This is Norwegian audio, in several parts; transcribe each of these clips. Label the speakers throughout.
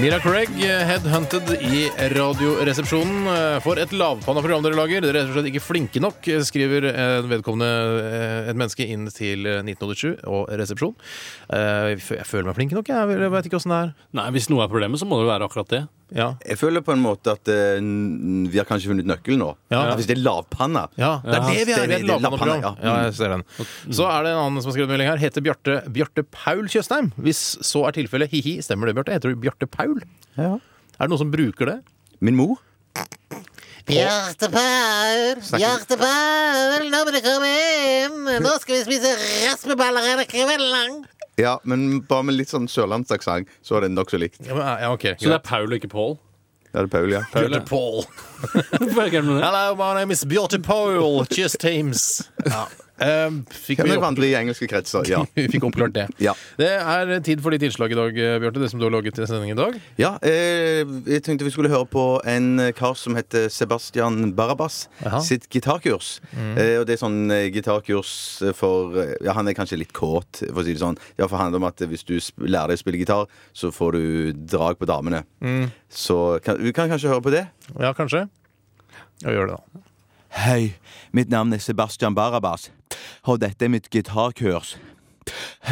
Speaker 1: Mira Craig, headhunted i Radioresepsjonen. eh, For et lavpanna program dere lager. Dere er rett og slett ikke flinke nok, eh, skriver en vedkommende eh, et menneske inn til 1987 og resepsjon. Eh, Jeg føler meg flink nok, jeg. Jeg vet ikke åssen det er.
Speaker 2: Nei, Hvis noe er problemet, så må det jo være akkurat det.
Speaker 1: Ja.
Speaker 3: Jeg føler på en måte at eh, n- vi har kanskje funnet nøkkelen nå.
Speaker 1: Ja.
Speaker 3: At Hvis det er lavpanna
Speaker 1: Ja, det er det vi er. Vi er et
Speaker 3: Det er
Speaker 1: lavpanneprogram.
Speaker 3: lavpanna,
Speaker 1: Ja, mm.
Speaker 3: ja.
Speaker 1: jeg ser den. Så er det en annen som har skrevet en melding her. Heter Bjarte Bjarte Paul Tjøstheim? Hvis så er tilfellet, hi-hi, stemmer det, Bjarte? Heter du Bjarte Paul? Er det noen som bruker det?
Speaker 3: Min mor?
Speaker 4: Hjertepaul, hjertepaul, nå må du komme hjem! Nå skal vi spise raspeballer hele kvelden lang.
Speaker 3: Ja, men bare med litt sånn sørlandsaksent, så er det nokså likt.
Speaker 1: Ja, men, eh, ja ok.
Speaker 2: Så det er Paul og ikke Paul.
Speaker 3: Ja, det er Paul, ja.
Speaker 1: Bjarte Paul.
Speaker 2: Hvorfor er det ikke noe med det?
Speaker 1: Hello, my name is Bjarte Paul. Cheers, Thames. Ja. Um, fikk
Speaker 3: Kan
Speaker 1: vi
Speaker 3: jeg
Speaker 1: opp...
Speaker 3: vandre i engelske kretser? Ja.
Speaker 1: Vi fikk oppklart det.
Speaker 3: Ja.
Speaker 1: Det er tid for ditt innslag i dag, Bjarte. Det som du har laget til sending i dag.
Speaker 3: ja eh, jeg tenkte vi skulle høre på en eh, kar som heter Sebastian Barabas
Speaker 1: Jaha.
Speaker 3: sitt gitarkurs. Eh, og det er sånn eh, gitarkurs for eh, Ja, han er kanskje litt kåt, for å si det sånn. Ja, for det handler om at hvis du sp- lærer deg å spille gitar, så får du drag på damene. Så kan, vi kan kanskje høre på det.
Speaker 1: Ja, kanskje? Ja, gjør det, da.
Speaker 3: Hei, mitt navn er Sebastian Barabas, og dette er mitt gitarkurs.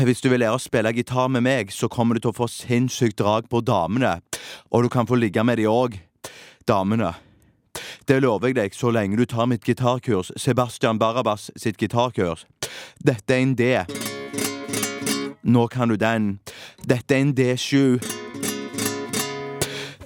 Speaker 3: Hvis du vil lære å spille gitar med meg, så kommer du til å få sinnssykt drag på damene, og du kan få ligge med de òg. Damene. Det lover jeg deg så lenge du tar mitt gitarkurs, Sebastian Barabas sitt gitarkurs. Dette er en D. Nå kan du den. Dette er en D7.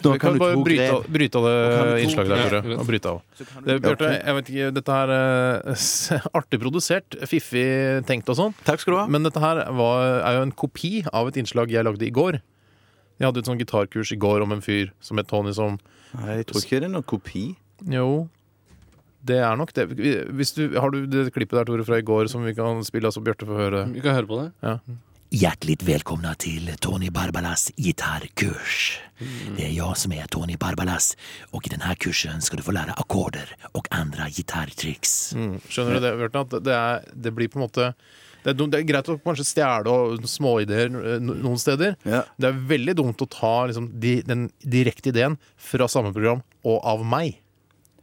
Speaker 3: Nå
Speaker 1: Vi kan,
Speaker 3: kan du
Speaker 1: bare
Speaker 3: to
Speaker 1: bryte,
Speaker 3: grep.
Speaker 1: av- bryte av
Speaker 3: kan
Speaker 1: det
Speaker 3: du to-
Speaker 1: innslaget der,
Speaker 2: Ja,
Speaker 1: Bjarte.
Speaker 2: greit.
Speaker 1: Og bryte av. Det, Bjarte, jeg vet ikke, dette her eh, s- Artig produsert, fiffig tenkt og sånn.
Speaker 3: Takk skal du ha.
Speaker 1: Men dette her var, er jo en kopi av et innslag jeg lagde i går. Jeg hadde et sånn gitarkurs i går om en fyr som het Tony som
Speaker 3: Nei, jeg tror ikke det er noen kopi.
Speaker 1: Jo, det er nok det. Hvis du, har du det klippet der, Tore, fra i går som vi kan spille, så Bjarte får høre?
Speaker 2: Vi kan høre på det.
Speaker 5: Hjertelig velkomna till Tony Barbalas gitarrkurs. Det är jag som är Tony Barbalas och i den här kursen ska du få lära ackorder och andra gitarrtricks.
Speaker 1: Mm, skjønner du det, Bjarte? At det, er, det blir på en måte det er, dumt- det er greit å kanskje stjele og småideer eh, no- noen steder.
Speaker 3: Ja.
Speaker 1: Det er veldig dumt å ta liksom, de, den direkte ideen fra samme program og av meg.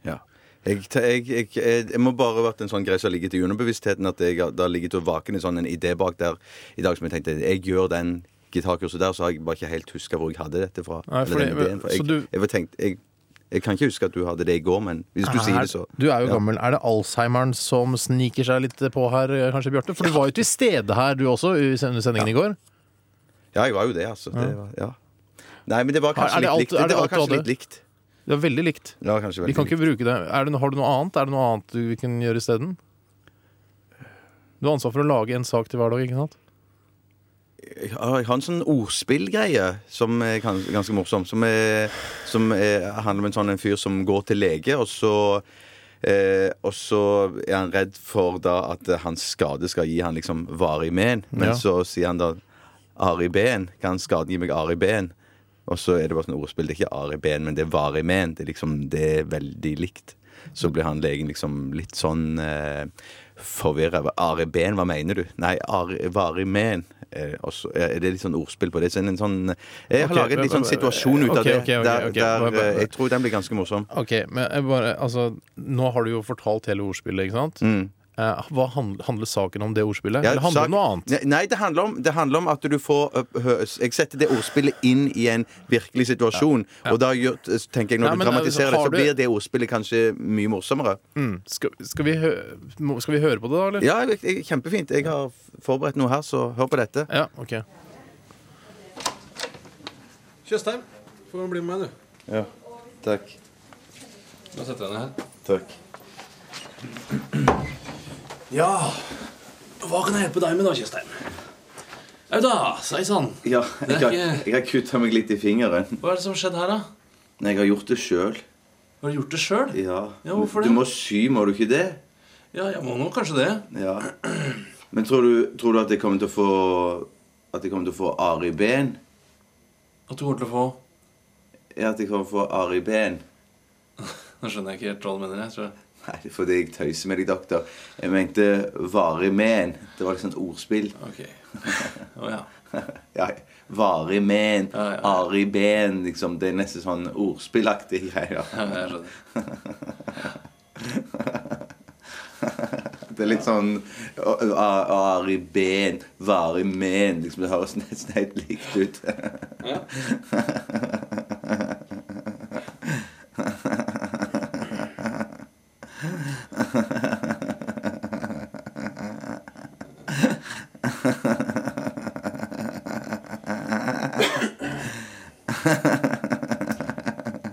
Speaker 3: Ja. Jeg, te- jeg, jeg, jeg, jeg må bare ha vært en sånn greie som har ligget i underbevisstheten. At jeg har- det har ligget og vaken en sånn en idé bak der i dag som jeg tenkte Jeg gjør den gitarkurset der, så har jeg bare ikke helt huska hvor jeg hadde dette fra.
Speaker 1: Nei,
Speaker 3: eller
Speaker 1: fordi-
Speaker 3: den ideen fra.
Speaker 1: så
Speaker 3: Jeg,
Speaker 1: du-
Speaker 3: jeg, var tenkt, jeg, jeg kan ikke huske at du hadde det i går, men hvis du sier det, så
Speaker 1: du er jo gammel. Er det Alzheimeren som sniker seg litt på her, eh, kanskje, Bjarte? For du var jo til stede her, du også, i sen- under sendingen i går.
Speaker 3: Ja, jeg var jo det, altså. Det var, ja. Nei, men det var kanskje
Speaker 1: Er det alt-
Speaker 3: litt likt.
Speaker 1: er det
Speaker 3: Det var
Speaker 1: alt du
Speaker 3: kanskje
Speaker 1: hadde?
Speaker 3: litt likt.
Speaker 1: Det er veldig likt.
Speaker 3: Det var kanskje
Speaker 1: Vi
Speaker 3: veldig
Speaker 1: kan ikke
Speaker 3: likt.
Speaker 1: bruke det. Er det, har du noe annet? Er det noe annet du kan gjøre isteden? Du har ansvar for å lage en sak til hver dag, ikke sant?
Speaker 3: Jeg har jeg har en sånn ordspillgreie som er gans- ganske morsom. Som, er, som er, handler om en sånn en fyr som går til lege, og så Eh, og så er han redd for da at eh, hans skade skal gi han liksom varig men. Men
Speaker 1: Ja.
Speaker 3: så sier han da Ari Ben. Kan skaden gi meg Ari Ben? Og så er det bare sånn ordspill. Det er ikke Ari Ben, men det er varig men. Det er liksom, det er veldig likt. Så blir han legen liksom litt sånn eh, forvirra. Ari Ben, hva mener du? Nei, Ari, varig men. Eh, og så er det litt sånn ordspill på det. Så en sånn, jeg har
Speaker 1: Ok,
Speaker 3: laget litt sånn situasjon ut av
Speaker 1: ok,
Speaker 3: det.
Speaker 1: ok, ok,
Speaker 3: der,
Speaker 1: ok.
Speaker 3: der, eh, jeg tror den blir ganske morsom.
Speaker 1: Ok, men jeg bare, altså, Nå har du jo fortalt hele ordspillet, ikke sant? Eh, hva handler, handler saken om det ordspillet?
Speaker 3: Ja,
Speaker 1: Eller handler det om
Speaker 3: sak-
Speaker 1: noe annet?
Speaker 3: Nei, Nei, det handler om, det handler om at du får ø- hø- Jeg setter det ordspillet inn i en virkelig situasjon. Og da gjør, tenker jeg når
Speaker 1: Nei, men, altså,
Speaker 3: du dramatiserer det,
Speaker 1: har
Speaker 3: så
Speaker 1: du-
Speaker 3: blir det ordspillet kanskje mye morsommere.
Speaker 1: Mm. Skal, skal, vi hø må- skal vi høre på det, da, eller?
Speaker 3: Ja, jeg, jeg, kjempefint. Jeg har forberedt noe her, så hør på dette.
Speaker 1: Ja, ok.
Speaker 6: Tjøstheim, får bli med meg, du.
Speaker 3: Ja. Takk.
Speaker 2: Nå setter jeg ned her.
Speaker 3: Takk.
Speaker 2: Ja, hva kan jeg hjelpe deg med da, Tjøstheim? Au da, sei sann.
Speaker 3: Ja,
Speaker 2: Det er ikke-
Speaker 3: jeg har kutta meg litt i fingeren.
Speaker 2: Hva er det som har skjedd her, da?
Speaker 3: Nei, jeg har gjort det sjøl.
Speaker 2: Har du gjort det sjøl? Ja, hvorfor det?
Speaker 3: sy, må du ikke det?
Speaker 2: Ja, jeg må nå kanskje det.
Speaker 3: Ja. Men tror du, tror du at jeg kommer til å få At jeg kommer til å få ar i ben?
Speaker 2: At du kommer til å få
Speaker 3: er at jeg kommer fra Ari Ben.
Speaker 2: Nå skjønner jeg ikke helt hva du mener. jeg tror jeg.
Speaker 3: Nei, det er fordi jeg tøyser med deg, doktor. Jeg mente varig men. Det var liksom et ordspill.
Speaker 2: Ok. Å ja.
Speaker 3: Ja, varig men,
Speaker 2: Ja, ja, ja.
Speaker 3: ari ben liksom. Det er nesten sånn ordspillaktig greier.
Speaker 2: jeg skjønner.
Speaker 3: Det er litt sånn å- å- Ari ben, varig men liksom, Det høres nesten helt likt ut.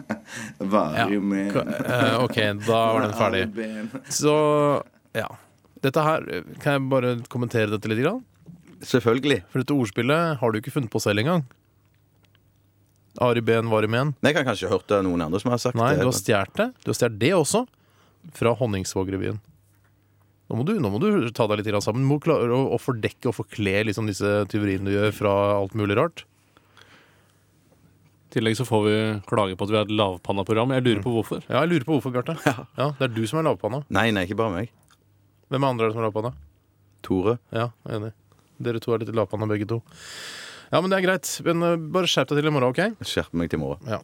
Speaker 1: Ja.
Speaker 3: Varig men
Speaker 1: Eh, OK, da var den
Speaker 3: Ari
Speaker 1: ferdig.
Speaker 3: ben.
Speaker 1: Så ja. Dette her, Kan jeg bare kommentere dette litt? Grann?
Speaker 3: Selvfølgelig.
Speaker 1: For dette ordspillet har du ikke funnet på selv engang. Ari Ben var i men.
Speaker 3: Men jeg kan kanskje ha hørt det av noen andre som har sagt
Speaker 1: Nei,
Speaker 3: det.
Speaker 1: du har stjålet det. Du har stjålet det også fra Honningsvåg-revyen. Nå må, du, nå må du ta deg litt grann sammen. Du må klare å, å fordekke og forkle liksom disse tyveriene du gjør fra alt mulig rart.
Speaker 7: I tillegg så får vi klage på at vi har et lavpanna-program. Jeg lurer på hvorfor.
Speaker 1: Ja, jeg lurer på hvorfor, Bjarte. Ja. det er du som er lavpanna.
Speaker 3: Nei, nei, ikke bare meg.
Speaker 1: Hvem andre er det som er lavpanna?
Speaker 3: Tore.
Speaker 1: Ja, jeg er enig. Dere to er litt lavpanna, begge to. Ja, men det er greit. Men eh, bare skjerp deg til i morgen, OK?
Speaker 3: Skjerp meg til i morgen.
Speaker 1: Ja.